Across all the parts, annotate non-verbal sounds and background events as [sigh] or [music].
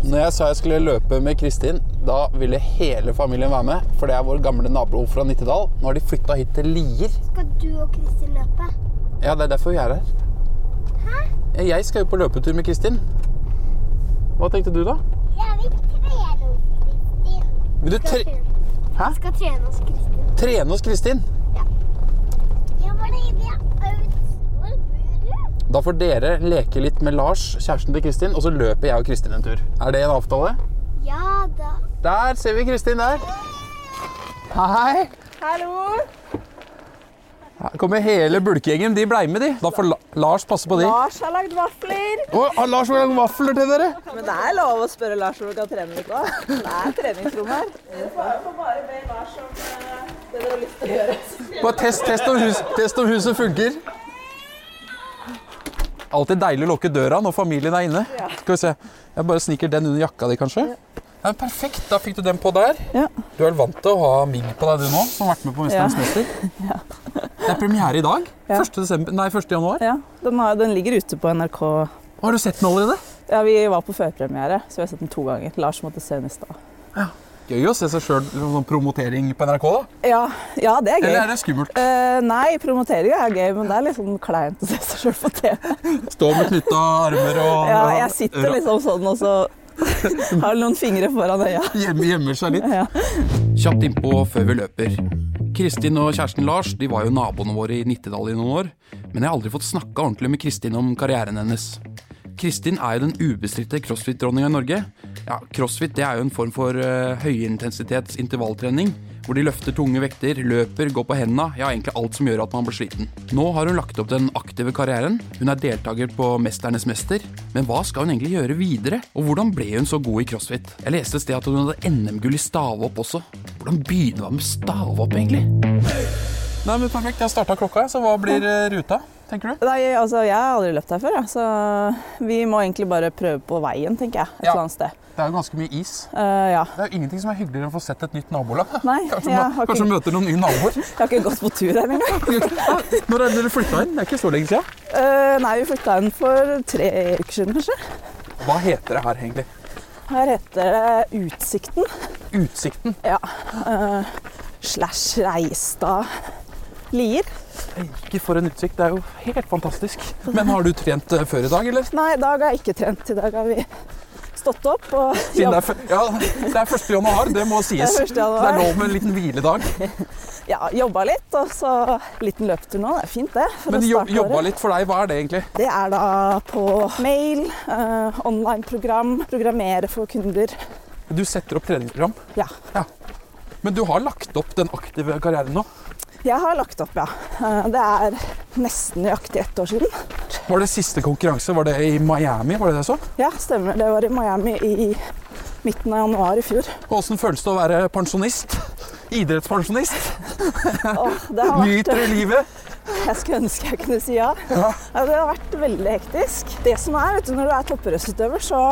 Når jeg sa jeg skulle løpe med Kristin, da ville hele familien være med. For det er vår gamle nabo fra Nittedal. Nå har de flytta hit til Lier. Skal du og Kristin løpe? Ja, det er derfor vi er her. Hæ? Jeg skal jo på løpetur med Kristin. Hva tenkte du, da? Jeg vil trene hos Kristin. Vil du tre Hæ? Jeg skal trene hos Kristin. trene hos Kristin? Ja, fordi vi har øvd. Hvor bor du? Da får dere leke litt med Lars, kjæresten til Kristin, og så løper jeg og Kristin en tur. Er det en avtale? Ja da. Der ser vi Kristin der. Hei. Hallo! Her kommer hele bulkegjengen. De blei med, de. Da får La Lars passe på de. Lars har lagd vafler. Å, har Lars har lagd vafler til dere. Men det er lov å spørre Lars om du kan trene litt òg. Det er treningsrom her. Du får bare be Lars om eh, det dere har lyst til å gjøre. Bare test, test, om hus, test om huset funker. Alltid deilig å lukke døra når familien er inne. Skal vi se. Jeg bare sniker den under jakka di, kanskje. Ja, perfekt. Da fikk du den på der. Ja. Du er vel vant til å ha migg på deg, du nå, som har vært med på Mesterens [laughs] mester. Det er premiere i dag. 1. Desember, nei, 1. januar. Ja, den, har, den ligger ute på NRK. Har du sett den allerede? Ja, Vi var på førpremiere, så vi har sett den to ganger. Lars måtte se den i stad. Gøy å se seg sjøl sånn promotering på NRK, da. Ja, ja, det er gøy. Eller er det skummelt? Eh, nei, promoteringa er gøy, men det er litt sånn kleint å se seg sjøl på TV. Stå med knytta armer og Ja, jeg sitter liksom sånn og så [laughs] har noen fingre foran øya. Gjemme- gjemmer seg litt. Kjapt innpå før vi løper. Kristin og kjæresten Lars de var jo naboene våre i Nittedal i noen år, men jeg har aldri fått snakka ordentlig med Kristin om karrieren hennes. Kristin er jo den ubestridte crossfit-dronninga i Norge. Ja, Crossfit det er jo en form for eh, høyintensitets intervalltrening, hvor de løfter tunge vekter, løper, går på henda, ja, egentlig alt som gjør at man blir sliten. Nå har hun lagt opp den aktive karrieren, hun er deltaker på Mesternes mester, men hva skal hun egentlig gjøre videre, og hvordan ble hun så god i crossfit? Jeg leste et sted at hun hadde NM-gull i stavhopp også. Hvordan begynner man med stavhopp, egentlig? Nei, men Perfekt, jeg starta klokka, så hva blir eh, ruta, tenker du? Nei, altså, jeg har aldri løpt her før, jeg, så vi må egentlig bare prøve på veien, tenker jeg. Et Ja. eller annet sted. Det er jo ganske mye is. Eh, ja. Det er jo ingenting som er hyggeligere enn å få sett et nytt nabolag. [laughs] Nei, kanskje jeg man- har ikke- kanskje møter noen nye [laughs] naboer. [laughs] Jeg har ikke gått på tur her engang. Når er det dere flytta inn? Det er ikke så lenge siden. Eh, nei, vi flytta inn for tre uker siden, kanskje. Hva heter det her egentlig? Her heter det Utsikten. Utsikten. Ja. eh, slash Reistad Lier. Ikke for en utsikt, det er jo helt fantastisk. Men har du trent eh, før i dag, eller? Nei, i dag har jeg ikke trent. I dag har vi stått opp og Siden det jobb, er, fø- ja, det er 1. januar, det må sies. Det er 1. januar. Så det er lov med en liten hviledag. ja, jobba litt. Og så liten løpetur nå. Det er fint, det. for Men å jobb, starte jobba året. litt for deg, hva er det egentlig? Det er da på mail, eh, online-program, programmere for kunder. Du setter opp treningsprogram, Ja. men du har lagt opp den aktive karrieren nå. Jeg har lagt opp, ja. Eh, Det er nesten nøyaktig ett år siden. Var det siste konkurranse, var det i Miami? var det det så? Ja, stemmer. Det var i Miami i midten av januar i fjor. Åssen føles det å være pensjonist? Idrettspensjonist? Åh, det har vært, Nyter du livet? [laughs] jeg skulle ønske jeg kunne si ja. Ja. Ja, Det har vært veldig hektisk. Det som er, vet du, Når du er toppidrettsutøver, så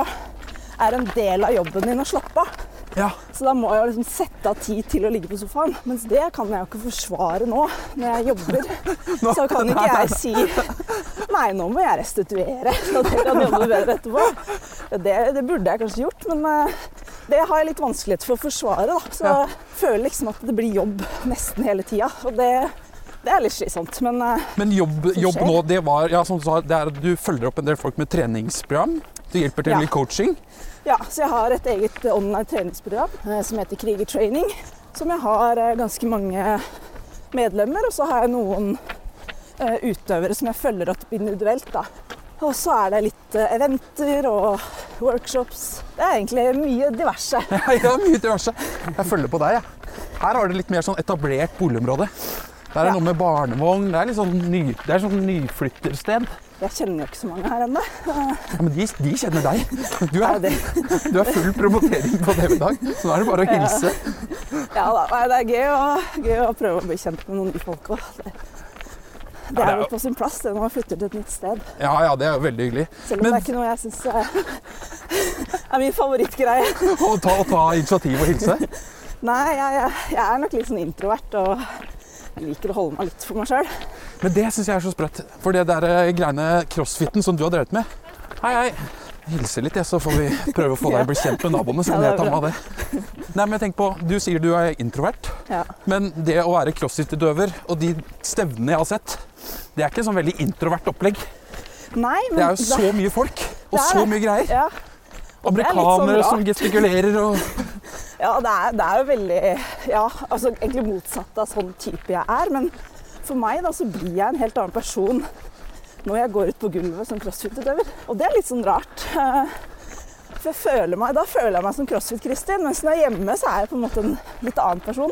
er en del av jobben din å slappe av. Ja. Så da må jeg jo liksom sette av tid til å ligge på sofaen. Mens det kan jeg jo ikke forsvare nå, når jeg jobber. Så kan ikke jeg si Nei, nå må jeg restituere, [laughs] så dere kan jobbe bedre etterpå. Det, det burde jeg kanskje gjort, men eh, det har jeg litt vanskelighet for å forsvare. Da. Så Ja. jeg føler liksom at det blir jobb nesten hele tida. Og det, det er litt slitsomt. Men eh, Men jobb, jobb skjer? nå, det var ja, som du sa, det er at du følger opp en del folk med treningsprogram. Du hjelper til Ja. med coaching. Ja, så jeg har et eget eh, online treningsprogram eh, som heter Krigertraining. Som jeg har eh, ganske mange medlemmer, og så har jeg noen eh, utøvere som jeg følger opp individuelt. da. Og så er det litt eh, eventer og workshops. Det er egentlig mye diverse. [laughs] Ja, mye diverse. Jeg følger på deg, jeg. Her har du litt mer sånn etablert boligområde. Der er Ja. noe med barnevogn. Det er litt sånn, ny, det er sånn nyflyttersted. Jeg kjenner jo ikke så mange her ennå. Ja, men de, de kjenner deg. Du Ja, er, det, du er full promotering på TV i dag, så nå er det bare å hilse. ja da. Nei, det er gøy å, gøy å prøve å bli kjent med noen nye folk òg. Det, det er jo- vel på sin plass det når man flytter til et nytt sted. Ja, ja, det er jo veldig hyggelig. Selv om Men- det er ikke noe jeg syns er [laughs] min favorittgreie. Å ta, å ta initiativ og hilse. Nei, jeg, jeg, jeg er nok litt sånn introvert og liker å holde meg litt for meg sjøl. Men det syns jeg er så sprøtt. For det der eh, greiene crossfiten som du har drevet med Hei, hei. Hilse litt, jeg, så får vi prøve å få deg å bli kjent med naboene. Så kan Ja, jeg det ta er meg av det. Nei, men tenk på, Du sier du er introvert, Ja. men det å være crossfit-utøver og de stevnene jeg har sett, det er ikke sånn veldig introvert opplegg. Nei, men Det er jo så mye folk og Det er så det. mye greier. ja, litt sånn Amerikanere som rart. gestikulerer og [laughs] ja det, er, det er jo veldig Ja, altså egentlig motsatt av sånn type jeg er. Men for meg da, så blir jeg en helt annen person når jeg går ut på gulvet som crossfit-utøver. Og det er litt sånn rart. eh, For jeg føler meg, da føler jeg meg som crossfit-Kristin, mens når jeg er hjemme, så er jeg på en måte en litt annen person.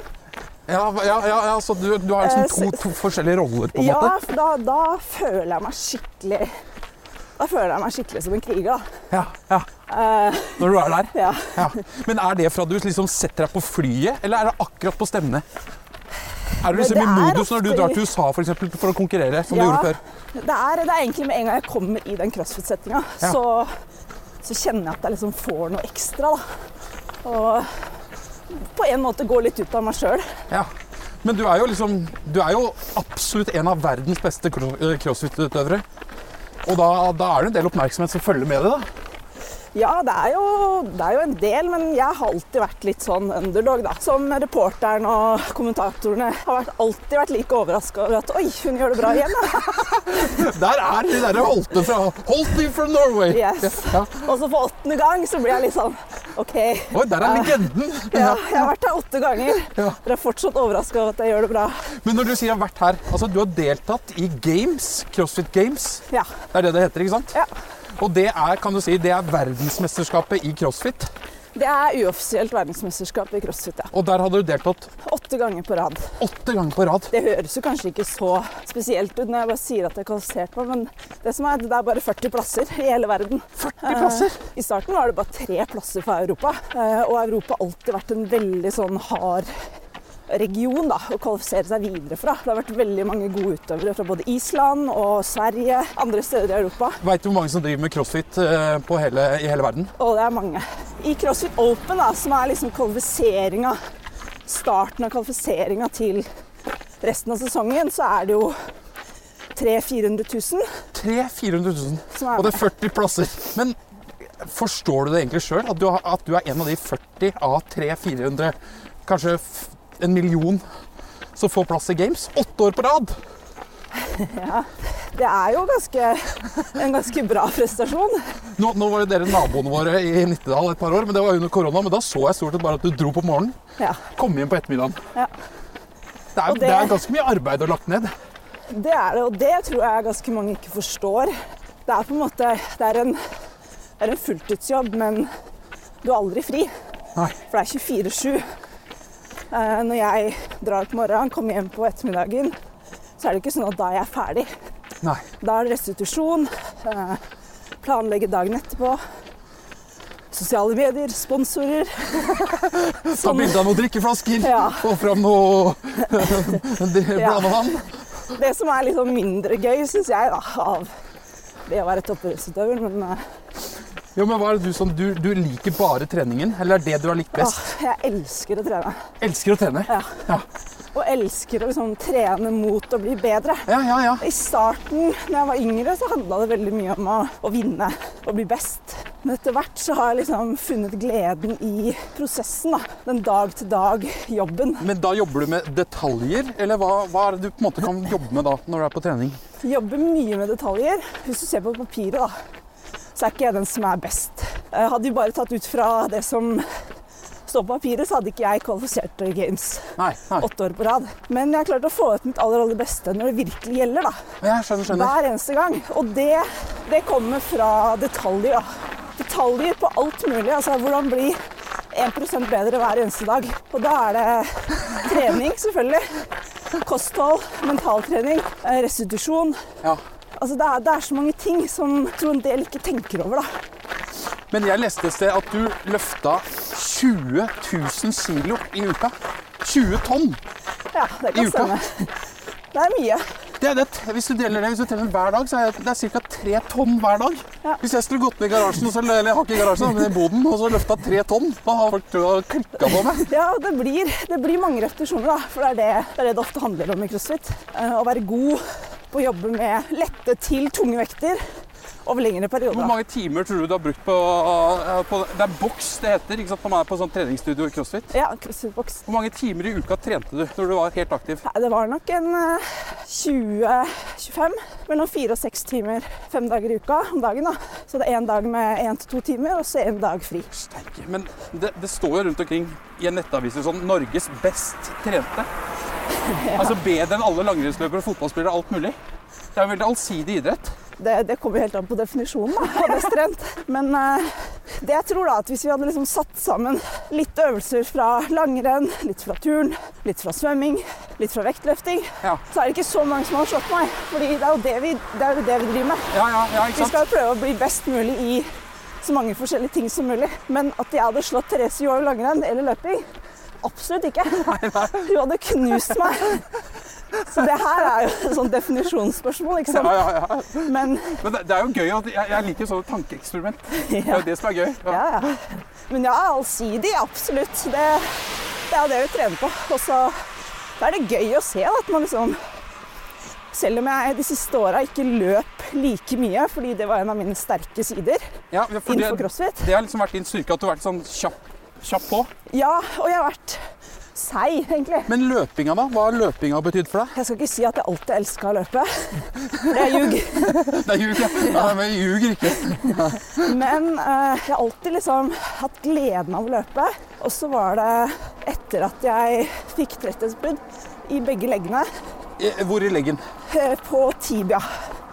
Ja, ja, ja, ja så du, du har Eh, så- liksom to, to forskjellige roller, på en Ja, måte. for da, da føler jeg meg skikkelig Da føler jeg meg skikkelig som en kriger, da. Ja, ja. Eh, Når du er der. ja. Ja. Men er det fra du liksom setter deg på flyet, eller er det akkurat på stevne? Er du liksom Det i er modus når du ofte- drar til USA for, eksempel, for å konkurrere, som du Ja. gjorde før? Det, er, det er egentlig med en gang jeg kommer i den crossfit-settinga, Ja. så, så kjenner jeg at jeg liksom får noe ekstra, da. Og på en måte går litt ut av meg sjøl. Ja. Men du er jo liksom Du er jo absolutt en av verdens beste cro- eh, crossfit-utøvere. Og da, da er det en del oppmerksomhet som følger med det, da. Ja, det er, jo, det er jo en del, men jeg har alltid vært litt sånn underdog, da. Som reporteren og kommentatorene har vært, alltid vært like overraska over at Oi, hun gjør det bra igjen, da. Der er de derre Holte fra Holte from Norway! Yes. Ja. Og så for åttende gang så blir jeg litt sånn OK. Oi, der er legenden! [laughs] Ja, jeg har vært her åtte ganger. Ja. Dere er fortsatt overraska over at jeg gjør det bra. Men når du sier jeg har vært her, altså du har deltatt i games, CrossFit Games. Ja. Det er det det heter, ikke sant? ja. Og det er, kan du si, det er verdensmesterskapet i crossfit. Det er uoffisielt verdensmesterskap i crossfit. ja. Og der hadde du deltatt Åtte ganger på rad. åtte ganger på rad. Det høres jo kanskje ikke så spesielt ut når jeg bare sier at jeg er kvalifisert meg, men det som er, det er bare 40 plasser i hele verden. Eh, 40 plasser! I starten var det bare tre plasser fra Europa, eh, og Europa har alltid vært en veldig sånn hard region da, å kvalifisere seg videre fra. Det har vært veldig mange gode utøvere fra både Island og Sverige, andre steder i Europa. Veit du hvor mange som driver med crossfit eh, på hele, i hele verden? Og det er mange. I CrossFit Open, da, som er liksom kvalifiseringa, starten av kvalifiseringa til resten av sesongen, så er det jo 300 000-400 000 300 000-400 000. som er Og det med. er 40 plasser. Men forstår du det egentlig sjøl? At, du har- at du er en av de 40 av 300-400, kanskje f- en million, som får plass i games? Åtte år på rad! Ja. Det er jo ganske, en ganske bra prestasjon. Nå, nå var jo dere naboene våre i Nittedal et par år, men det var jo under korona. Men da så jeg stort sett bare at du dro på morgenen. Ja. Kom hjem på ettermiddagen. Ja. Det, er, Og det- det er ganske mye arbeid å ha lagt ned. Det er det, og det tror jeg ganske mange ikke forstår. Det er på en måte det er en, det er en fulltidsjobb, men du er aldri fri. Nei. For det er 24-7. Eh, Når jeg drar på morgenen, kommer hjem på ettermiddagen, så er det ikke sånn at da er jeg ferdig. Nei. Da er det restitusjon, eh, planlegge dagen etterpå, sosiale medier, sponsorer. Ta Sånn- bilde av noen drikkeflasker, Ja. få fram [laughs] noe [laughs] blandevann. Det som er litt sånn mindre gøy, syns jeg, da, av det å være toppidrettsutøver. Men eh, Jo, men hva er det du som du, du liker bare treningen? Eller er det du har likt best? åh, jeg elsker å trene. Elsker å trene. Ja. Ja. Og elsker å liksom, trene mot å bli bedre. Ja, ja, ja. I starten, når jeg var yngre, så handla det veldig mye om å, å vinne og bli best. Men etter hvert så har jeg liksom funnet gleden i prosessen. da. Den dag-til-dag-jobben. Men da jobber du med detaljer, eller hva, hva er det du på en måte kan jobbe med da, når du er på trening? Jobber mye med detaljer. Hvis du ser på papiret, da, så er ikke jeg den som er best. Eh, Hadde vi bare tatt ut fra det som står på papiret, så hadde ikke jeg kvalifisert til Games Nei, nei. åtte år på rad. Men jeg har klart å få ut mitt aller, aller beste når det virkelig gjelder, da. Jeg skjønner, skjønner. Hver eneste gang. Og det, det kommer fra detaljer. Da. Detaljer på alt mulig. Altså hvordan bli 1 bedre hver eneste dag. Og da er det trening, selvfølgelig. Kosthold, mentaltrening, eh, restitusjon. Ja. Altså det, er, det er så mange ting som jeg tror en del ikke tenker over. da. Men jeg leste et sted at du løfta 20 000 kilo i uka. 20 tonn! Ja, Det I kan uka? stemme. Det er mye. Det er det, hvis du deler det hvis du teller hver dag, så er det, det ca. 3 tonn hver dag. Ja. Hvis jeg skulle gått ned i garasjen, og så, eller jeg har ikke i garasjen, men i boden, og så løfta 3 tonn, da har folk klikka på meg. Ja, det blir, det blir mange repetisjoner, da. For det er det, det er det det ofte handler om i crossfit. Eh, Å være god på å jobbe med lette til tunge vekter over lengre Hvor perioder. mange timer tror du du har brukt på, eh, på Det er boks det heter ikke sant, når man er på sånn treningsstudio i crossfit. Ja, crossfit-boks. Hvor mange timer i uka trente du når du var helt aktiv? Nei, Det var nok en 20-25. Mellom fire og seks timer fem dager i uka om dagen. da. Så det er én dag med én til to timer, og så én dag fri. Steike, Men det, det står jo rundt omkring i en nettavis sånn 'Norges best trente'. [laughs] Altså Bedre enn alle langrennsløpere, fotballspillere, alt mulig. Det er jo en veldig allsidig idrett. Det, det kommer helt an på definisjonen da, av best trent. Men eh, det jeg tror da, at hvis vi hadde liksom satt sammen litt øvelser fra langrenn, litt fra turn, litt fra svømming, litt fra vektløfting, Ja, så er det ikke så mange som har slått meg. Fordi det er jo det vi, det er jo det vi driver med. ja, ja, ja Vi ikke sant? skal jo prøve å bli best mulig i så mange forskjellige ting som mulig. Men at jeg hadde slått Therese Johaug langrenn eller løping Absolutt ikke. Hun hadde knust meg. Så det her er jo et sånt definisjonsspørsmål, ikke sant. [laughs] Ja, ja, ja. Men Men det, det er jo gøy. at- Jeg, jeg liker sånne tankeeksperiment. Det er ja, jo det som er gøy. Ja. ja. ja. Men ja, allsidig, absolutt. Det, det er jo det vi trener på. Og så er det gøy å se da, at man liksom Selv om jeg de siste åra ikke løp like mye, fordi det var en av mine sterke sider Ja, for det, innenfor crossfit, det har liksom vært din styrke, at du har vært sånn kjapp, kjapp på. Ja, og jeg har vært seig, egentlig. Men løpinga, da? Hva har løpinga betydd for deg? Jeg skal ikke si at jeg alltid elska å løpe, for jeg ljuger. Nei, [laughs] ljuger jeg. Nei, men jeg ljuger ikke. Men eh, jeg har alltid liksom hatt gleden av å løpe. Og så var det etter at jeg fikk tretthetsbrudd i begge leggene Eh, Hvor i leggen? eh, på tibia.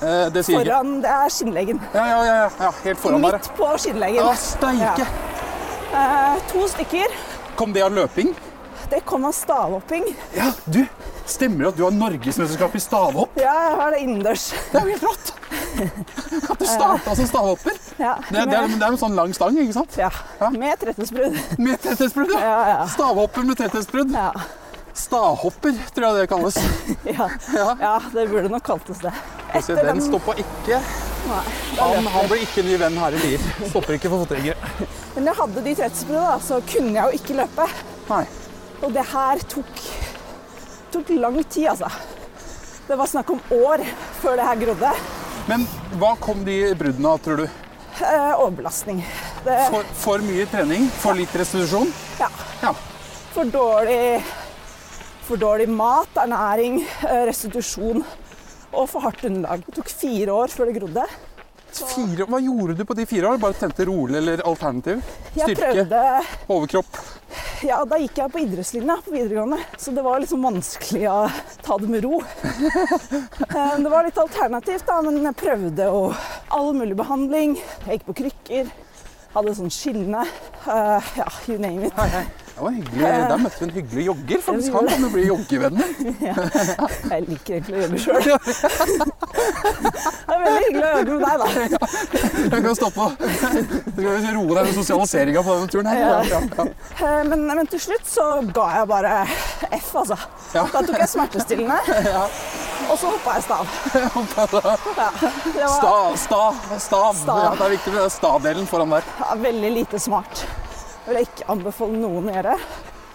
Eh, Det sier jeg ikke. Foran Det er skinnleggen. Ja, ja, ja, ja, ja. Helt foran der. Midt på ja. skinnleggen. Ja, steike. Eh, to stykker. Kom det av løping? Det kom av stavhopping. Ja, du. Stemmer det at du har norgesmesterskap i stavhopp? Ja, jeg har det innendørs. Det er jo helt rått! At du starta som stavhopper. Ja, Det, er- det, er, med, det er en sånn lang stang, ikke sant? ja, Ja. med tretthetsbrudd. Med tetthetsbrudd, ja. Ja, ja. Stavhopper med tetthetsbrudd. ja. Stavhopper, tror jeg det kalles. Ja. Ja. ja, det burde nok kaltes det. Etter Den den- stoppa ikke. Nei, da Han, løper han blir ikke ny venn her i Lier. Stopper ikke for fotgjengere. jeg. Men jeg hadde de 30 da, så kunne jeg jo ikke løpe. Nei. Og det her tok, tok lang tid, altså. Det var snakk om år før det her grodde. Men hva kom de bruddene av, tror du? Eh, overbelastning. Det, For, for mye trening? For litt restitusjon? ja, Ja. for dårlig For dårlig mat, ernæring, eh, restitusjon og for hardt underlag. Det tok fire år før det grodde. Fire, hva gjorde du på de fire år? Bare trente rolig eller alternativ? Jeg Styrke? prøvde Overkropp? Ja, da gikk jeg på idrettslinja på videregående, så det var liksom vanskelig å ta det med ro. Eh, Det var litt alternativt, da, men jeg prøvde å all mulig behandling. Jeg gikk på krykker, hadde sånn skinne. eh, Ja, you name it. Hei, hei. Det var hyggelig. Der Eh. møtte vi en hyggelig jogger. faktisk. Han kan jo bli joggevenner. Jeg liker egentlig å jogge sjøl. Det er veldig hyggelig å jogge med deg, da. Jeg kan stoppe og [laughs] Du kan jo roe deg med sosialiseringa på denne turen her. Ja. Ja, ja. Eh, Men, men til slutt så ga jeg bare F, altså. Ja. Da tok jeg smertestillende, [laughs] Ja. og så hoppa jeg [laughs] stav. Ja, det var Sta, sta, stav. Stav. Ja, det er viktig med den stavdelen foran der. ja, veldig lite smart. Det vil jeg ikke anbefale noen å gjøre.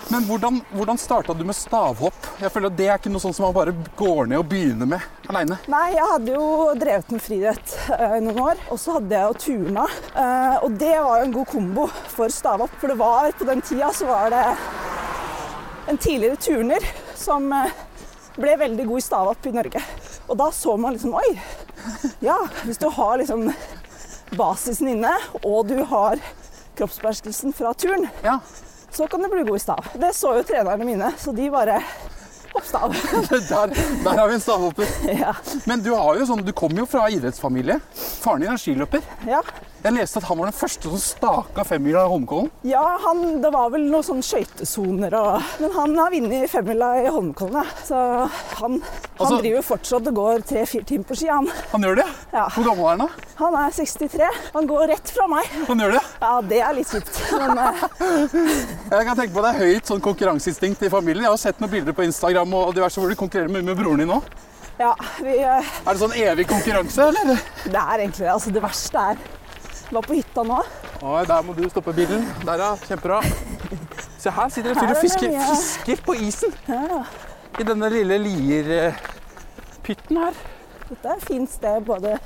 Men hvordan, hvordan starta du med stavhopp? Jeg føler at Det er ikke noe sånt som man bare går ned og begynner med aleine. Nei, jeg hadde jo drevet med friidrett eh, i noen år. Og så hadde jeg jo turna. Eh, og det var jo en god kombo for stavhopp. For det var på den tida så var det en tidligere turner som eh, ble veldig god i stavhopp i Norge. Og da så man liksom Oi! Ja, hvis du har liksom basisen inne, og du har kroppsbeherskelsen fra turn, Ja. [laughs] så kan du bli god i stav. Det så jo trenerne mine, så de bare Hoppstav. Der, der har vi en stavhopper. [laughs] ja. Men du har jo sånn, du kommer jo fra idrettsfamilie. Faren din er skiløper. ja. Jeg leste at han var den første som staka femmila i Holmenkollen. Ja, han, det var vel noen sånne skøytesoner og Men han har vunnet femmila i Holmenkollen, ja. Så han, han Altså- driver fortsatt og går tre-fire timer på ski, han. Han gjør det? Ja. Hvor gammel er han da? Han er 63. Han går rett fra meg. Han gjør det? Ja, det er litt kjipt. Men eh, Jeg kan tenke på Det er høyt sånn konkurranseinstinkt i familien. Jeg har sett noen bilder på Instagram og diverse hvor du konkurrerer mye med broren din nå. ja, vi eh, Er det sånn evig konkurranse, eller? Det er egentlig det. Altså, det verste er Jeg var på hytta nå. Oi, der må du stoppe bilen. Der, ja. Kjempebra. Se, her sitter en Her fyr og er det fisker, mye. fisker på isen. Ja, I denne lille eh, lierpytten her. dette er et fint sted både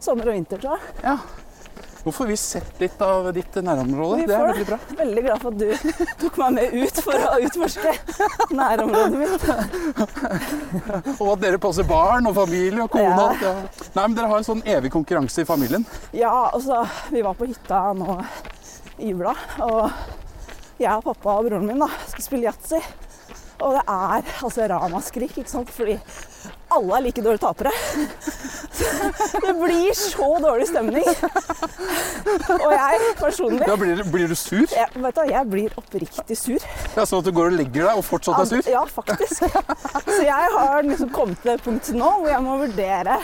sommer og vinter, tror jeg. Ja. Nå får vi sett litt av ditt nærområde. Vi Det er får veldig bra. Veldig glad for at du [laughs] tok meg med ut for å utforske nærområdet mitt. Og at dere passer barn og familie og kone. Ja. og alt, Ja. Nei, men Dere har en sånn evig konkurranse i familien. Ja, altså, vi var på hytta nå i jula, og jeg og pappa og broren min da, skal spille yatzy. Og det er altså ramaskrik, ikke sant? Fordi alle er like dårlige tapere. [laughs] Så det blir så dårlig stemning. Og jeg personlig Ja, blir, blir du sur? jeg, vet du, hva, jeg blir oppriktig sur. Ja, sånn at du går og legger deg og fortsatt er sur? Ja, faktisk. Så jeg har liksom kommet til det punktet nå hvor jeg må vurdere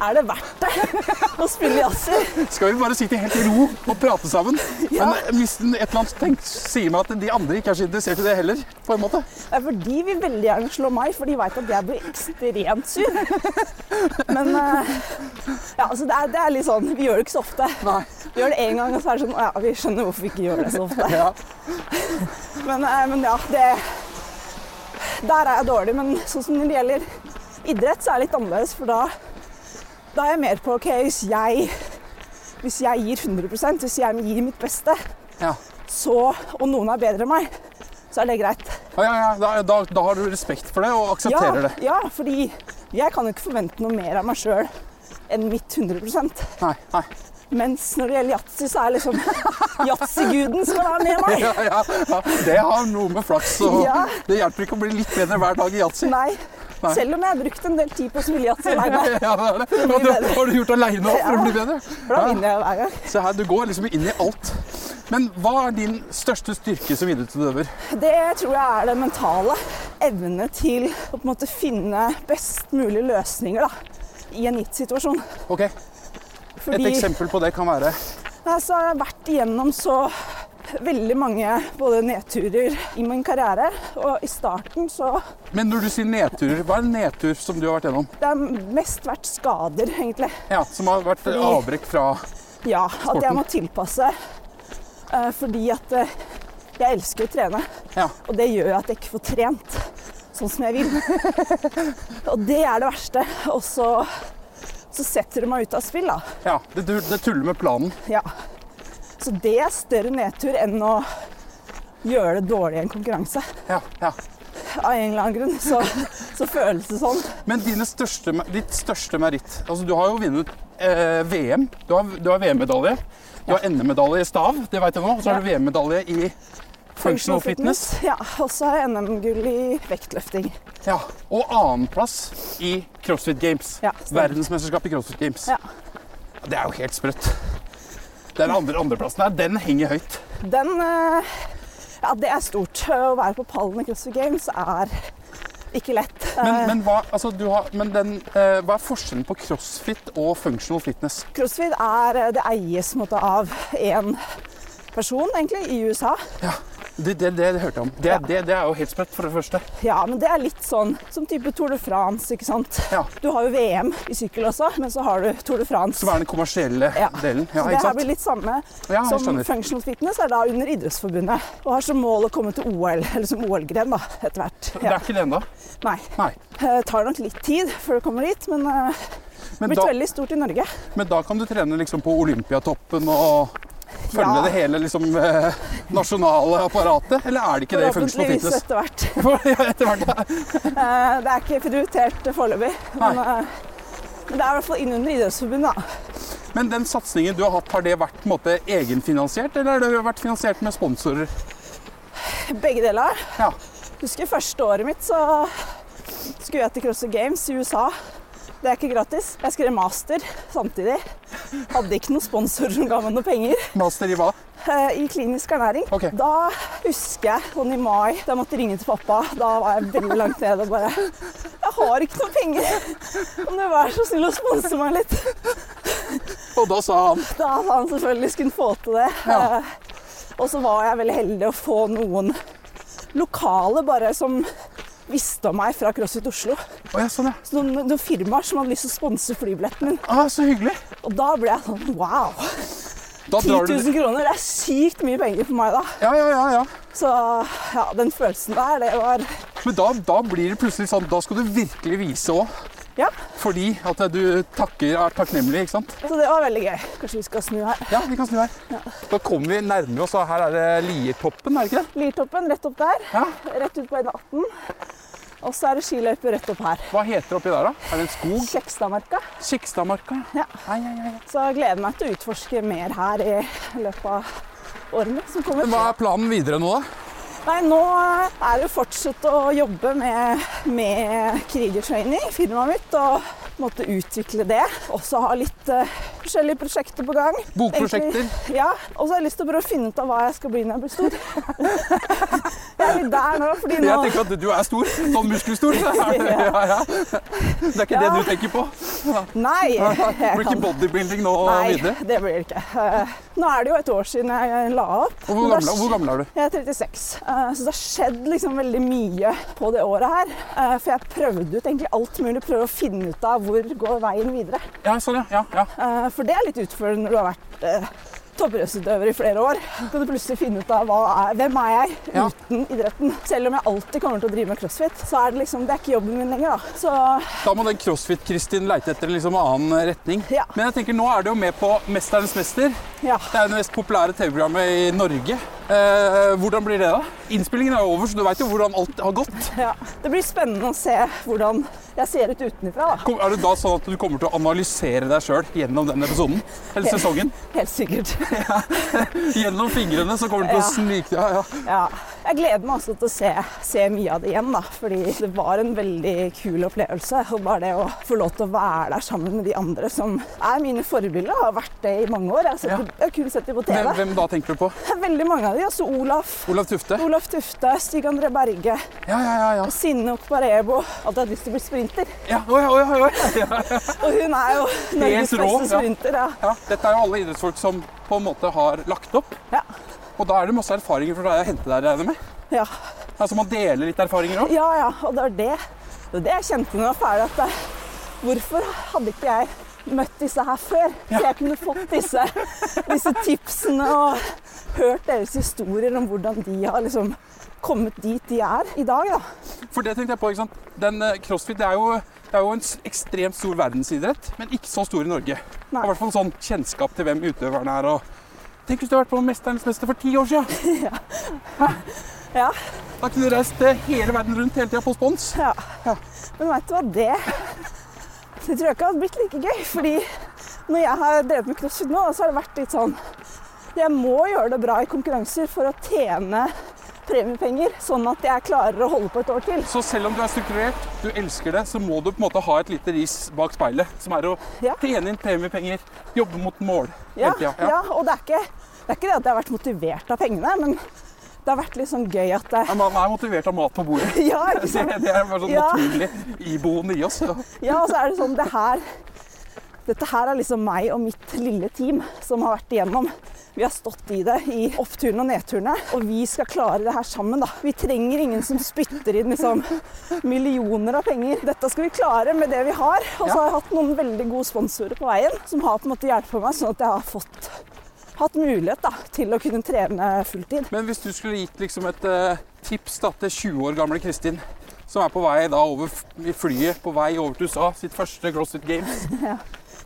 er det verdt det å spille jazzer. Skal vi bare sitte helt i ro og prate sammen? Ja. Men eh, hvis den et eller annet tenkt, sier meg at de andre ikke er så interessert i det heller, på en måte. Det er fordi de vil veldig gjerne slå meg, for de veit at jeg blir ekstremt sur. Men eh, ja, altså det, er, det er litt sånn Vi gjør det ikke så ofte. Nei. Vi gjør det én gang, og så er det sånn Å ja, vi skjønner hvorfor vi ikke gjør det så ofte. Ja. Men, eh, men ja, det Der er jeg dårlig. Men sånn som når det gjelder idrett, så er det litt annerledes, for da, da er jeg mer på OK, hvis jeg, hvis jeg gir 100 hvis jeg gir mitt beste, Ja. så, og noen er bedre enn meg, så er det greit. Ja, ja, ja. Da, da, da har du respekt for det og aksepterer det. Ja, fordi jeg kan jo ikke forvente noe mer av meg sjøl enn mitt 100 Nei, nei. Mens når det gjelder yatzy, så er liksom [laughs] yatzyguden skal være med meg. Ja, ja, ja. Det har noe med flaks og Ja. Det hjelper ikke å bli litt bedre hver dag i yatzy. Nei. Nei. Selv om jeg har brukt en del tid på å spille yatzy alene. [laughs] Ja, det er det. Og det har du gjort aleine òg for å bli bedre. For da Ja. vinner jeg hver gang. Se her, du går liksom inn i alt. Men hva er din største styrke som idrettsutøver? Det tror jeg er det mentale. Evne til å på en måte finne best mulige løsninger da, i en gitt situasjon. Ok, Et Fordi- eksempel på det kan være Altså, jeg har vært igjennom så veldig mange både nedturer i min karriere. Og i starten så Men når du sier nedturer, hva er en nedtur som du har vært gjennom? Det har mest vært skader, egentlig. Ja, Som har vært Fordi- avbrekk fra Ja, at jeg må tilpasse. eh, Fordi at eh, jeg elsker å trene, Ja. og det gjør jo at jeg ikke får trent sånn som jeg vil. [laughs] og det er det verste. Og så, så setter det meg ut av spill, da. ja det, tu- det tuller med planen. Ja. Så det er større nedtur enn å gjøre det dårlig i en konkurranse. Ja, ja. Av en eller annen grunn så, så føles det sånn. Men dine største, ditt største meritt altså Du har jo vunnet eh, VM. Du har, du har VM-medalje. Du har NM-medalje i stav, det vet jeg nå. Og så har du VM-medalje i functional fitness. Ja, og så har jeg NM-gull i vektløfting. Ja. Og annenplass i CrossFit Games. Ja, stemmer. Verdensmesterskap i CrossFit Games. Ja. Det er jo helt sprøtt. Den andre, andreplassen her, den henger høyt. Den eh, Ja, det er stort. Eh, Å være på pallen i CrossFit Games er ikke lett. Men, Eh, men, hva, altså, du har, men den, eh, hva er forskjellen på crossfit og functional fitness? CrossFit er eh, Det eies på en måte, av én person, egentlig, i USA. Det, det, det hørte jeg om. Det, Ja. det, det er jo helt sprøtt, for det første. Ja, men det er litt sånn som type Tour de France, ikke sant. Ja. Du har jo VM i sykkel også, men så har du Tour de France. Som er den kommersielle Ja. delen. så det her blir litt samme Ja, jeg som skjønner. functional fitness er da under Idrettsforbundet. Og har som mål å komme til OL, eller som OL-gren, da, etter hvert. Det Ja. er ikke det ennå. Nei. Nei. Eh, tar nok litt tid før du kommer dit, men eh, Men blitt da, veldig stort i Norge. men da kan du trene liksom på Olympiatoppen og følge Ja. det hele liksom, eh, nasjonale apparatet? Eller er det ikke det i functional Forhåpentligvis fitness? [laughs] etter hvert. [laughs] Ja, Etter hvert, ja. Eh, Det er ikke prioritert foreløpig. Men, Nei. eh, men det er i hvert fall innunder Idrettsforbundet, da. Men den satsingen du har hatt, har det vært på en måte, egenfinansiert, eller har det vært finansiert med sponsorer? Begge deler. Ja. Husker første året mitt, så skulle jeg til CrossFit Games i USA. Det er ikke gratis. Jeg skrev master samtidig. Hadde ikke noen sponsor som ga meg noe penger. Master i hva? eh, i klinisk ernæring. Ok. Da husker jeg sånn i mai, da jeg måtte ringe til pappa. Da var jeg veldig langt nede og bare Jeg har ikke noe penger. [laughs] Kan du være så snill å sponse meg litt? Og da sa han Da sa han selvfølgelig skulle han få til det. Ja. Eh, [laughs] Og så var jeg veldig heldig å få noen lokale bare som visste om meg fra CrossFit Oslo. Å ja, sånn ja. Så noen, noen firmaer som hadde lyst til å sponse flybilletten min. Ah, så hyggelig. Og da ble jeg sånn wow! Da 10 drar du 000 kroner, det er sykt mye penger for meg da. Ja, ja, ja. ja. Så ja, den følelsen der, det var Men da, da blir det plutselig sånn Da skal du virkelig vise òg. Ja, Fordi at du takker, er takknemlig, ikke sant? så det var veldig gøy. Kanskje vi skal snu her. Ja, vi kan snu her. Da kommer vi nærmere oss. og Her er det Liertoppen, er det ikke det? Liertoppen rett opp der. Ja. Rett ut på N18. Og så er det skiløype rett opp her. Hva heter det oppi der, da? Er det en skog? Kjekstadmarka. Kjekstadmarka? Ja. Ai, ai, ai. Så jeg gleder meg til å utforske mer her i løpet av årene som kommer. Hva er planen videre nå, da? Nei, nå er det å fortsette å jobbe med, med krigertraining, firmaet mitt, og på en måte utvikle det. Også ha litt eh, forskjellige prosjekter på gang. Bokprosjekter? Egentlig- Ja. Og så har jeg lyst til å prøve å finne ut av hva jeg skal bli når jeg blir stor. [laughs] jeg er litt der nå, fordi nå Jeg tenker at du er stor. Sånn muskelstor. [laughs] så er det- Ja, ja. Det er ikke det Ja. du tenker på? Nei! jeg Det blir kan- ikke bodybuilding nå Nei, videre? det blir det ikke. Eh, Nå er det jo et år siden jeg la opp. Og hvor Men det gammel, er- hvor gammel er du? Jeg er 36, eh, så det har skjedd liksom veldig mye på det året her. Eh, For jeg prøvde ut egentlig alt mulig, prøvde å finne ut av hvor går veien videre. Ja, sånn, ja. ja, ja. Eh, For det er litt utfordrende når du har vært eh, toppidrettsutøver i flere år. Så kan du plutselig finne ut av hva er, hvem er jeg Ja. uten idretten. Selv om jeg alltid kommer til å drive med crossfit, så er det liksom, det er ikke jobben min lenger. da. Så Da må den CrossFit-Kristin leite etter en liksom annen retning. Ja. Men jeg tenker, nå er du jo med på 'Mesterens mester'. ja. Det er jo det mest populære TV-programmet i Norge. Eh, hvordan blir det, da? Innspillingen er jo over, så du veit jo hvordan alt har gått. ja. Det blir spennende å se hvordan jeg ser ut utenfra. Kom, er det da sånn at du kommer til å analysere deg sjøl gjennom den episoden? Eller sesongen? Helt sikkert. Gjennom fingrene så kommer du til å snike Ja, ja. Ja. Jeg gleder meg også til å se, se mye av det igjen, da. Fordi det var en veldig kul opplevelse. Og bare det å få lov til å være der sammen med de andre som er mine forbilder, og har vært det i mange år. Jeg har, sett, Ja. dem- jeg har kun sett dem på Hvem, TV. hvem da tenker du på? [laughs] Veldig mange av de, altså Olaf. Olav Tufte? Olaf Tufte, Stig André Berge, Ja, ja, ja. ja. Sinne Okparebo. At jeg hadde lyst til å bli sprinter. ja. Oi, oi, oi, oi. Ja. Og hun er jo Norges rå, beste ja. sprinter. Ja. Ja. Dette er jo alle idrettsfolk som på en måte har lagt opp. Ja. Og da er det masse erfaringer fra deg å hente der, regner jeg med? Ja. Altså man deler litt erfaringer òg? ja ja, og det var det. Det var det jeg kjente når jeg var ferdig. at jeg- Hvorfor hadde ikke jeg møtt disse her før? Så jeg kunne fått disse, disse tipsene og hørt deres historier om hvordan de har liksom kommet dit de er i dag. Da. For det tenkte jeg på, ikke sant. Den eh, crossfit det er jo, det er jo en s- ekstremt stor verdensidrett, men ikke så stor i Norge. Det er I hvert fall sånn kjennskap til hvem utøverne er og Tenk hvis du hadde vært på Mesterens mester for ti år siden! Ja, Da kunne du reist eh, hele verden rundt hele tida på spons. ja. Men veit du hva det Det tror jeg ikke hadde blitt like gøy. fordi når jeg har drevet med crossfit nå, da, så har det vært litt sånn Jeg må gjøre det bra i konkurranser for å tjene premiepenger, sånn at jeg klarer å holde på et år til. Så selv om du er strukturert, du elsker det, så må du på en måte ha et lite ris bak speilet, som er å Ja. tjene inn premiepenger, jobbe mot mål Ja, hele tida. ja. og det er, ikke, det er ikke det at jeg har vært motivert av pengene, men det har vært litt sånn gøy at det, [laughs] Ja, Man er motivert av mat på [laughs] bordet. [laughs] ja, ikke Det, sant? det er bare sånn Ja. naturlig iboende i oss. Ja. ja, og så er det sånn det her Dette her er liksom meg og mitt lille team som har vært igjennom. Vi har stått i det i oppturene og nedturene, og vi skal klare det her sammen. da. Vi trenger ingen som spytter inn liksom, millioner av penger. Dette skal vi klare med det vi har. Og så har jeg hatt noen veldig gode sponsorer på veien som har på en måte hjulpet meg, sånn at jeg har fått, hatt mulighet da, til å kunne trene fulltid. Men hvis du skulle gitt liksom et eh, tips da, til 20 år gamle Kristin, som er på vei da over f- i flyet på vei over til USA, sitt første CrossFit Games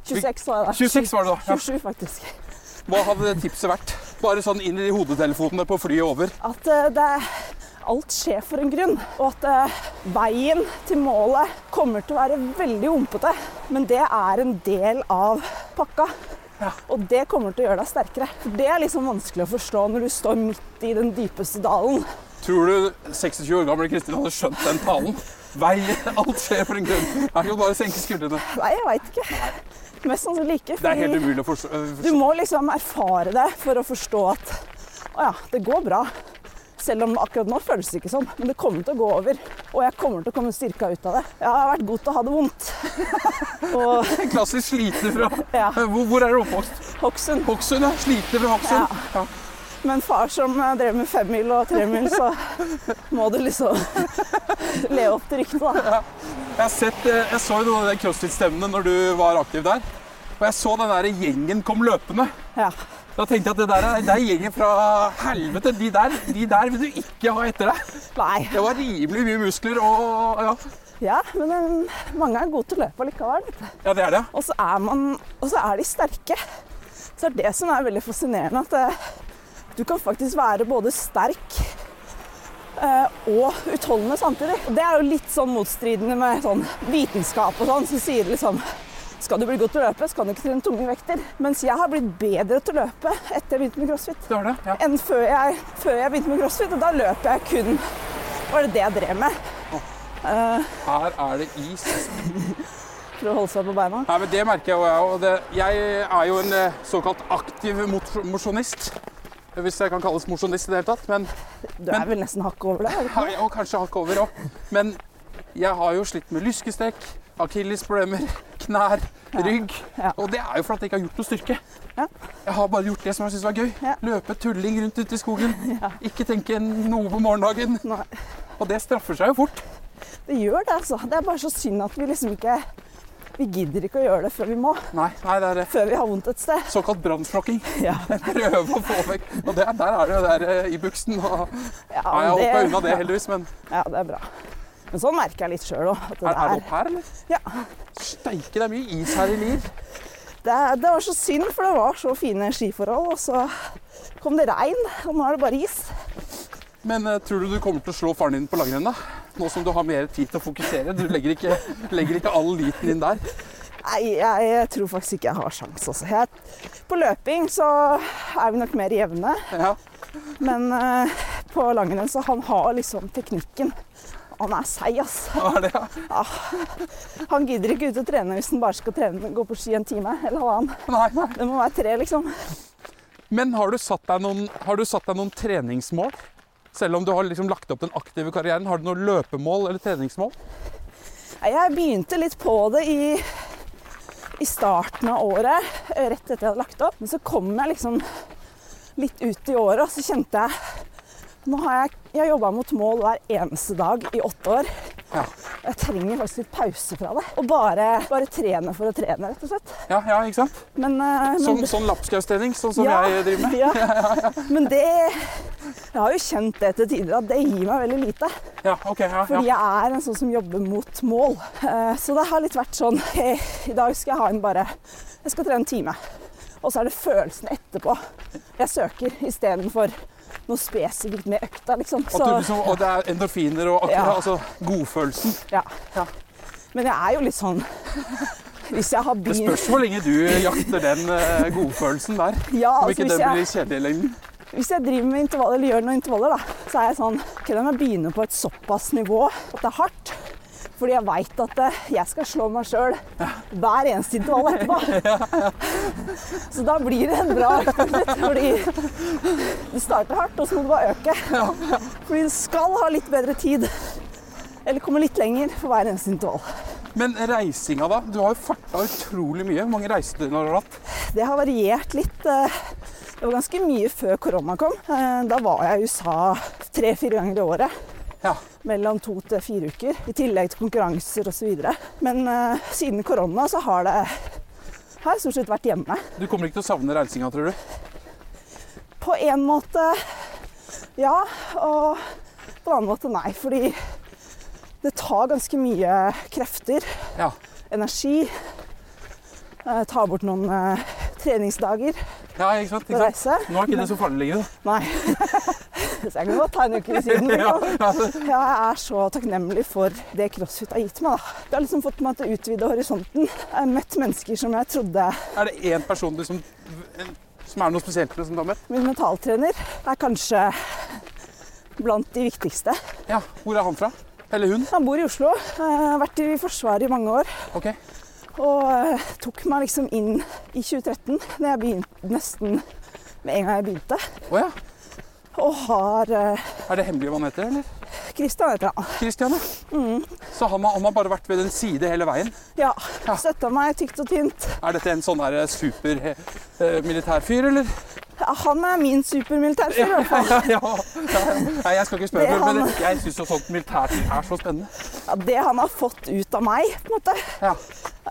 26 var jeg da. 26 var det da. 27 faktisk. Ja. Hva hadde det tipset vært? Bare sånn inn i hodetelefonene på flyet over. At eh, det alt skjer for en grunn, og at eh, veien til målet kommer til å være veldig humpete, men det er en del av pakka. Ja. Og det kommer til å gjøre deg sterkere. For Det er liksom vanskelig å forstå når du står midt i den dypeste dalen. Tror du 26 år gamle Kristin hadde skjønt den talen? Vei, alt skjer for en grunn. Er det ikke bare å senke skuldrene? Nei, jeg veit ikke. Mest sannsynlig ikke. Det er helt fordi umulig å forstå. øh, du forstå. må liksom erfare det for å forstå at å ja, det går bra. Selv om akkurat nå føles det ikke sånn, men det kommer til å gå over. Og jeg kommer til å komme styrka ut av det. Jeg har vært god til å ha det vondt. [laughs] Og En klassisk sliter fra Øh, Ja. hvor, hvor er du oppvokst? Hokksund. Hokksund, ja. Sliter fra Hokksund. Ja. Med en far som eh, drev med femmil og tremil, så må du liksom [laughs] leve opp til ryktet, da. Jeg, har sett, eh, jeg så jo noen av de crossfit-stevnene når du var aktiv der. Og jeg så den der gjengen kom løpende. Ja. Da tenkte jeg at det der er, det er gjengen fra helvete. De der, de der vil du ikke ha etter deg. Nei. Det var rimelig mye muskler og ja. Ja, men eh, mange er gode til å løpe allikevel. vet du. ja, det er det. Og så er, man, og så er de sterke. Så det er det som er veldig fascinerende. At eh, du kan faktisk være både sterk eh, og utholdende samtidig. Og det er jo litt sånn motstridende med sånn vitenskap og sånn, som sier liksom skal du bli god til å løpe, så kan du ikke trene tunge vekter. Mens jeg har blitt bedre til å løpe etter jeg begynte med crossfit Det var det. Ja. enn før jeg, før jeg begynte med crossfit. Og da løp jeg kun Var det det jeg drev med? Her er det is. For å holde seg på beina. Nei, men Det merker jeg jo. jeg, Og det, jeg er jo en eh, såkalt aktiv mot- mosjonist. Hvis jeg kan kalles mosjonist i det hele tatt. Men, Du er vel nesten hakket over det? er du ikke? og kanskje hakk over òg. Men jeg har jo slitt med lyskestek, akillesproblemer, knær, rygg. Ja. Og det er jo fordi jeg ikke har gjort noe styrke. Ja. Jeg har bare gjort det som jeg syns var gøy. Ja. Løpe tulling rundt ute i skogen. [laughs] Ikke tenke noe på morgendagen. Nei. Og det straffer seg jo fort. Det gjør det, altså. Det er bare så synd at vi liksom ikke Vi gidder ikke å gjøre det før vi må. Nei, nei det er eh, Før vi har vondt et sted. såkalt [laughs] brannslokking. Ja, Prøve å få vekk. Og det, der er det jo der eh, i buksen. og... ja, Nei, jeg hoppa unna det ja, heldigvis, men Ja, det er bra. Men sånn merker jeg litt sjøl òg. er, Det, er det er- opp her, eller? Ja. Steike, det er mye is her i Lier. det, er- det var så synd, for det var så fine skiforhold, og så kom det regn, og nå er det bare is. Men eh, tror du du kommer til å slå faren din på langrenn, da? Nå som du har mer tid til å fokusere. Du legger ikke, legger ikke all liten din der. Nei, jeg tror faktisk ikke jeg har sjans, altså. Jeg, på løping så er vi nok mer jevne, Ja. men eh, på langrenn så han har liksom teknikken. Han er seig, ass. Hva er det? ja? Han gidder ikke ut og trene hvis han bare skal trene, gå på ski en time eller halvannen. Nei, nei. Det må være tre, liksom. Men har du satt deg noen, har du satt deg noen treningsmål? Selv om du har liksom lagt opp den aktive karrieren, har du noen løpemål eller treningsmål? Nei, Jeg begynte litt på det i, i starten av året, eh, rett etter jeg hadde lagt opp. Men så kom jeg liksom litt ut i året, og så kjente jeg Nå har jeg, jeg jobba mot mål hver eneste dag i åtte år. Ja. Og Jeg trenger faktisk litt pause fra det. Og bare, bare trene for å trene, rett og slett. Ja, ja ikke sant? Men, eh, men Sånn, sånn lapskaustrening, sånn som Ja, jeg driver med. Ja. [laughs] Men det Jeg har jo kjent det til tider, at det gir meg veldig lite. Ja, ok, ja, Fordi ja. jeg er en sånn som jobber mot mål. Eh, Så det har litt vært sånn [laughs] hey, I dag skal jeg ha en bare Jeg skal trene en time. Og så er det følelsen etterpå jeg søker, istedenfor noe spesifikt med økta, liksom. Og, Så, du, liksom, og det er endorfiner og akkurat, Ja. altså godfølelsen. ja. Ja. Men jeg er jo litt sånn [laughs] Hvis jeg har Det bil spørs hvor lenge du jakter den eh, godfølelsen der. [laughs] ja, Om altså, ikke hvis, den jeg, blir kjedelig i lengden. hvis jeg driver med intervaller, eller gjør noen intervaller, da, så er jeg sånn Ok, da må jeg begynne på et såpass nivå at det er hardt. Fordi jeg veit at eh, jeg skal slå meg sjøl hver eneste intervall etterpå. [laughs] Så da blir det en bra økt. rett og slett, Fordi det starter hardt, og så må du bare øke. Fordi du skal ha litt bedre tid. Eller komme litt lenger for hver eneste intervall. Men reisinga, da? Du har jo farta utrolig mye. Hvor mange reisedøgn har du hatt? Det har variert litt. eh, Det var ganske mye før korona kom. Eh, Da var jeg i USA tre-fire ganger i året. Ja. mellom to til fire uker, i tillegg til konkurranser osv. Men eh, siden korona så har det har jeg stort sett vært hjemme. Du kommer ikke til å savne reisinga, tror du? På en måte ja, og på en annen måte nei. Fordi det tar ganske mye krefter, Ja. energi. Eh, tar bort noen eh, treningsdager ja ikke sant? på Ikke sant? reise. Nå er ikke det så farlig lenger. da. Nei. [laughs] så jeg kan godt ta en uke ved siden. [laughs] Ja, Liksom. altså, Ja, jeg er så takknemlig for det crossfit har gitt meg. Da. Det har liksom fått meg til å utvide horisonten. Jeg har møtt mennesker som jeg trodde er det én person du som, som er noe spesielt med, som du har møtt? Min mentaltrener er kanskje blant de viktigste. Ja, Hvor er han fra? Eller hun? Han bor i Oslo, eh, vært i Forsvaret i mange år. Ok. Og eh, tok meg liksom inn i 2013, da jeg begynte nesten med en gang jeg begynte. Å ja. Og har eh, Er det hemmelig hva han heter, eller? Christian heter han. Christian, ja. Mm. Så han har, han har bare vært ved den side hele veien. Ja. Ja. Støtta meg tykt og tynt. Er dette en sånn der supermilitærfyr, eller? Ja, han er min supermilitærfyr, i hvert fall. Ja, ja. [laughs] Nei, jeg skal ikke Det spørre, er han. men jeg syns jo sånt militært er så spennende. Ja, det han har fått ut av meg, på en måte, Ja.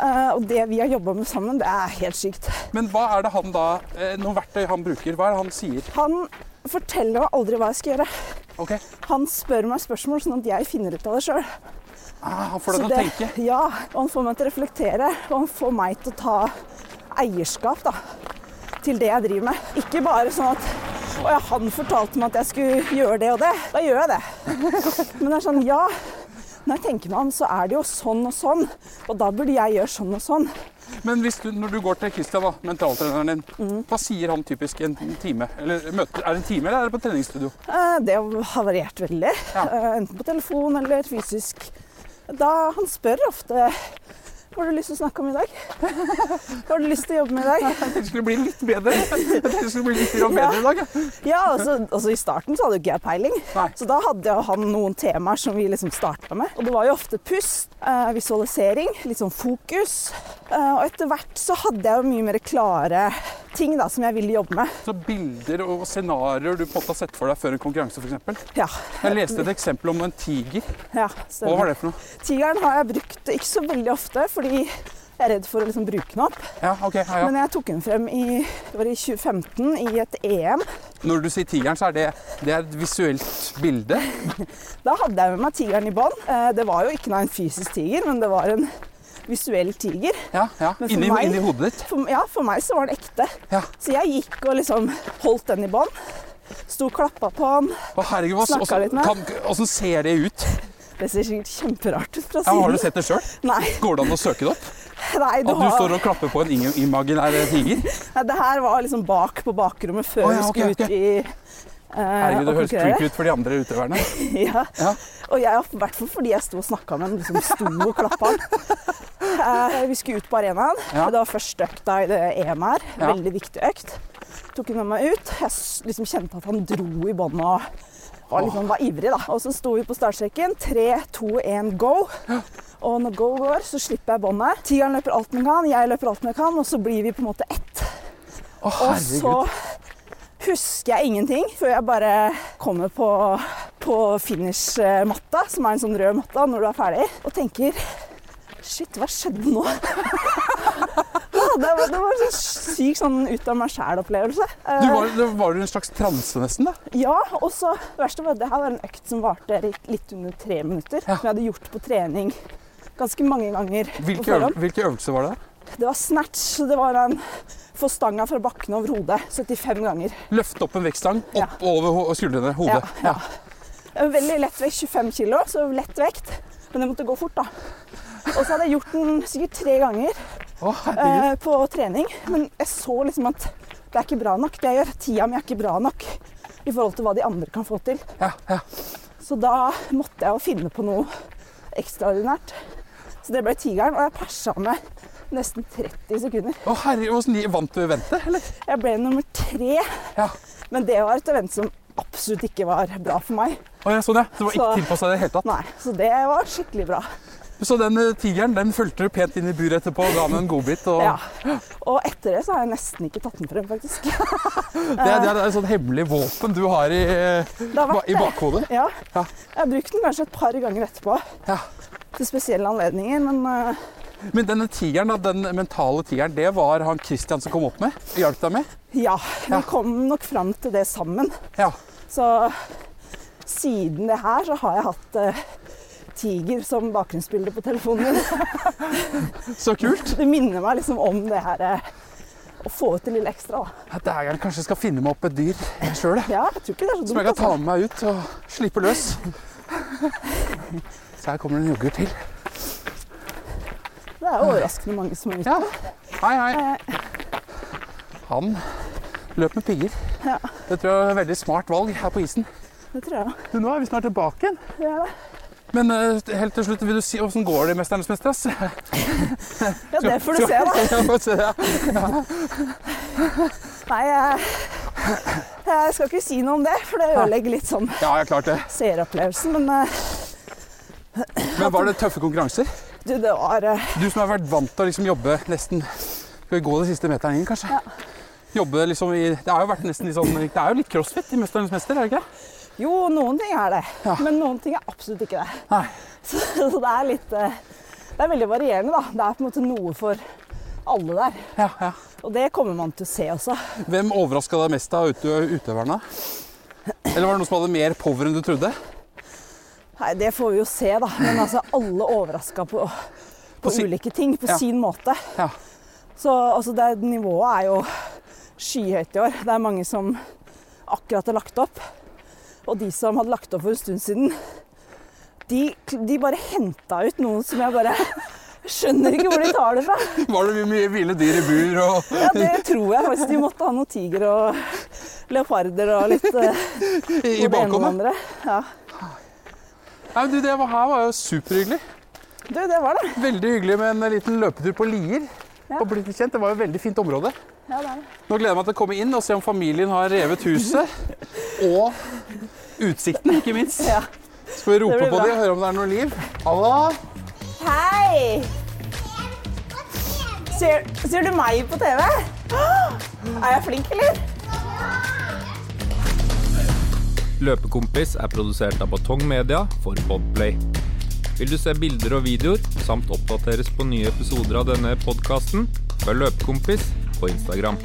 eh, og det vi har jobba med sammen, det er helt sykt. Men hva er det han da eh, Noen verktøy han bruker? Hva er det han sier? Han forteller meg aldri hva jeg skal gjøre. Ok, Han spør meg spørsmål sånn at jeg finner ut av det sjøl. ah, Han får deg til å tenke. Ja, og han får meg til å reflektere, og han får meg til å ta eierskap da, til det jeg driver med. Ikke bare sånn at å ja, han fortalte meg at jeg skulle gjøre det og det. Da gjør jeg det. Men det [laughs] er sånn, ja, når jeg tenker meg om, så er det jo sånn og sånn. Og da burde jeg gjøre sånn og sånn. Men hvis du, når du går til Christian, da, mentaltreneren din, hva sier han typisk i en time? Eller møte, er det en time, eller er det på treningsstudio? [laughs] Eh, Det har variert veldig, Ja. Eh, enten på telefon eller fysisk. Da han spør ofte hva har du lyst til å snakke om i dag? [laughs] Hva har du lyst til å jobbe med i dag? Jeg tenkte det skulle bli litt bedre. Jeg tenkte det skulle bli litt grann bedre i dag. jeg. Ja, altså, altså I starten så hadde jo ikke jeg peiling, Nei. så da hadde jo han noen temaer som vi liksom starta med. Og det var jo ofte pust, eh, visualisering, litt sånn fokus. Eh, og etter hvert så hadde jeg jo mye mer klare ting da, som jeg ville jobbe med. Så bilder og scenarioer du på en måte har sett for deg før en konkurranse, f.eks. Ja. Jeg leste et eksempel om en tiger. Ja, Hva stemmer. var det for noe? Tigeren har jeg brukt ikke så veldig ofte, fordi jeg er redd for å liksom bruke den opp. Ja, ok. Ja, ja. Men jeg tok den frem i, det var i 2015 i et E EM. Når du sier tigeren, så er det, det er et visuelt bilde. Da hadde jeg med meg tigeren i bånd. Eh, Det var jo ikke noe en fysisk tiger, men det var en visuell tiger. Ja, ja. Men for Inni, meg- inni hodet ditt. For, ja, for meg så var den ekte. Ja. Så jeg gikk og liksom holdt den i bånd. Sto og klappa på den. Å, herregud, hva- Snakka litt med. kan- Hvordan ser det ut? Det ser sikkert kjemperart ut fra Ja, siden. har du sett det sjøl? Nei, Går det an å søke det opp? nei, du At du har... står og klapper på en ing- imaginær tiger? nei, det her var liksom bak på bakrommet før Å, ja, vi ok, skulle ut ok. i eh, Herregud, det og høres konkurrere. creepy ut for de andre utøverne. [laughs] Ja. Ja. Og jeg, i hvert fall fordi jeg sto og snakka med den, liksom sto og klappa den. Eh, vi skulle ut på arenaen. Ja. Det var første økta i det EM her. Ja. Veldig viktig økt. Tok hun med meg ut. Jeg s- liksom kjente at han dro i båndet og var, liksom, var ivrig, da. Og så sto vi på startstreken. Tre, to, én, go. Og når go går, så slipper jeg båndet. Tigeren løper alt den kan, jeg løper alt den jeg kan, og så blir vi på en måte ett. Å, Og herregud. så husker jeg ingenting før jeg bare kommer på, på finish-matta, som er en sånn rød matta når du er ferdig, og tenker Shit, hva skjedde nå? [laughs] ja, det, var, det var en sånn syk sånn ut av meg sjæl-opplevelse. Du var, da var du i en slags transe nesten, da? Ja, og så det verste var at det her var en økt som varte litt- litt under tre minutter. Ja. Som jeg hadde gjort på trening ganske mange ganger. på Hvilke, forhånd. øvel- hvilke øvelser var det? Det var snatch. så Det var den få stanga fra bakken over hodet 75 ganger. Løfte opp en vektstang Ja. opp over ho- skuldrene, hodet. Ja, Ja, En Veldig lett vekt, 25 kilo, så lett vekt. Men det måtte gå fort, da. Og så hadde jeg gjort den sikkert tre ganger Å, herregud. eh, på trening. Men jeg så liksom at det er ikke bra nok, det jeg gjør. Tida mi er ikke bra nok i forhold til hva de andre kan få til. Ja, ja. Så da måtte jeg jo finne på noe ekstraordinært. Så det ble tigeren, og jeg persa med nesten 30 sekunder. Å, herregud, hvordan li- vant du eventet, eller? Jeg ble nummer tre, Ja. men det var et event som absolutt ikke var bra for meg. Å, ja, sånn, ja. Det var ikke Så- tilpassa i det hele tatt. Nei, så det var skikkelig bra. Så den eh, tigeren den fulgte du pent inn i buret etterpå og ga den en godbit. Og Ja. Og etter det så har jeg nesten ikke tatt den frem, faktisk. [laughs] det, er- det er et sånt hemmelig våpen du har i, eh, Det har ba- vært i det. bakhodet. Ja. Ja. Jeg har brukt den kanskje et par ganger etterpå Ja. til spesielle anledninger, men eh, Men denne tigeren, da, den mentale tigeren, det var han Christian som kom opp med? Hjalp deg med? ja. Ja. Vi kom nok fram til det sammen. Ja. Så siden det her så har jeg hatt eh, tiger som bakgrunnsbilde på telefonen min. [laughs] Så kult. Det minner meg liksom om det her eh, å få ut det lille ekstra, da. Ja, Dægeren, kanskje jeg skal finne meg opp et dyr sjøl, jeg. Ja, jeg tror ikke det er så Som dumt. jeg kan ta altså. med meg ut og slippe løs. Så her kommer det en yoghurt til. Det er jo overraskende mange som er ute. Ja. Hei, hei. Han løp med pigger. Ja. Det tror jeg er et veldig smart valg her på isen. det tror jeg. Du, nå er vi snart tilbake igjen. Ja. Men eh, helt til slutt, vil du si åssen går det i 'Mesternes mester'? ass? ja, det får du se, [laughs] da. Ja, får se, ja. Nei, jeg, jeg skal ikke si noe om det, for det ødelegger litt sånn ja, jeg klarte det. seeropplevelsen. Men eh, Men var det tøffe konkurranser? du, det var eh, Du som har vært vant til å liksom jobbe nesten Skal vi gå den siste meteren inn, kanskje? Jobbe liksom i Det har jo vært nesten litt sånn Det er jo litt crossfit i 'Mesternes mester', er det ikke det? Jo, noen ting er det, Ja. men noen ting er absolutt ikke det. Nei. [laughs] Så, så det er litt eh, Det er veldig varierende, da. Det er på en måte noe for alle der. Ja, ja. Og det kommer man til å se også. Hvem overraska deg mest av utø- utøverne? Eller var det noen som hadde mer power enn du trodde? Nei, det får vi jo se, da. Men altså, alle overraska på, på, På si- ulike ting på Ja. sin måte. Ja. Så altså, det, nivået er jo skyhøyt i år. Det er mange som akkurat har lagt opp. Og de som hadde lagt opp for en stund siden, de, de bare henta ut noe som jeg bare [laughs] skjønner ikke hvor de tar det fra. Var det mye ville dyr i bur og Ja, det tror jeg faktisk. De måtte ha noen tiger og leoparder og litt eh, både i, i det ene og det bakhånda? andre. Ja. Nei, men du, det var her var jo superhyggelig. Du, det var det. Veldig hyggelig med en liten løpetur på Lier. Ja. Og blitt litt kjent. Det var jo et veldig fint område. Ja, det er det. Nå gleder jeg meg til å komme inn og se om familien har revet huset. [laughs] og utsikten, ikke minst. Ja. Så får vi rope blir på bra. dem og høre om det er noe liv. Halla! Hei! Hva Ser, ser du meg på TV? Åh! Er jeg flink, eller? Løpekompis er produsert av Batong Media for Podplay. Vil du se bilder og videoer, samt oppdateres på nye episoder av denne podkasten, følg Løpekompis på Instagram.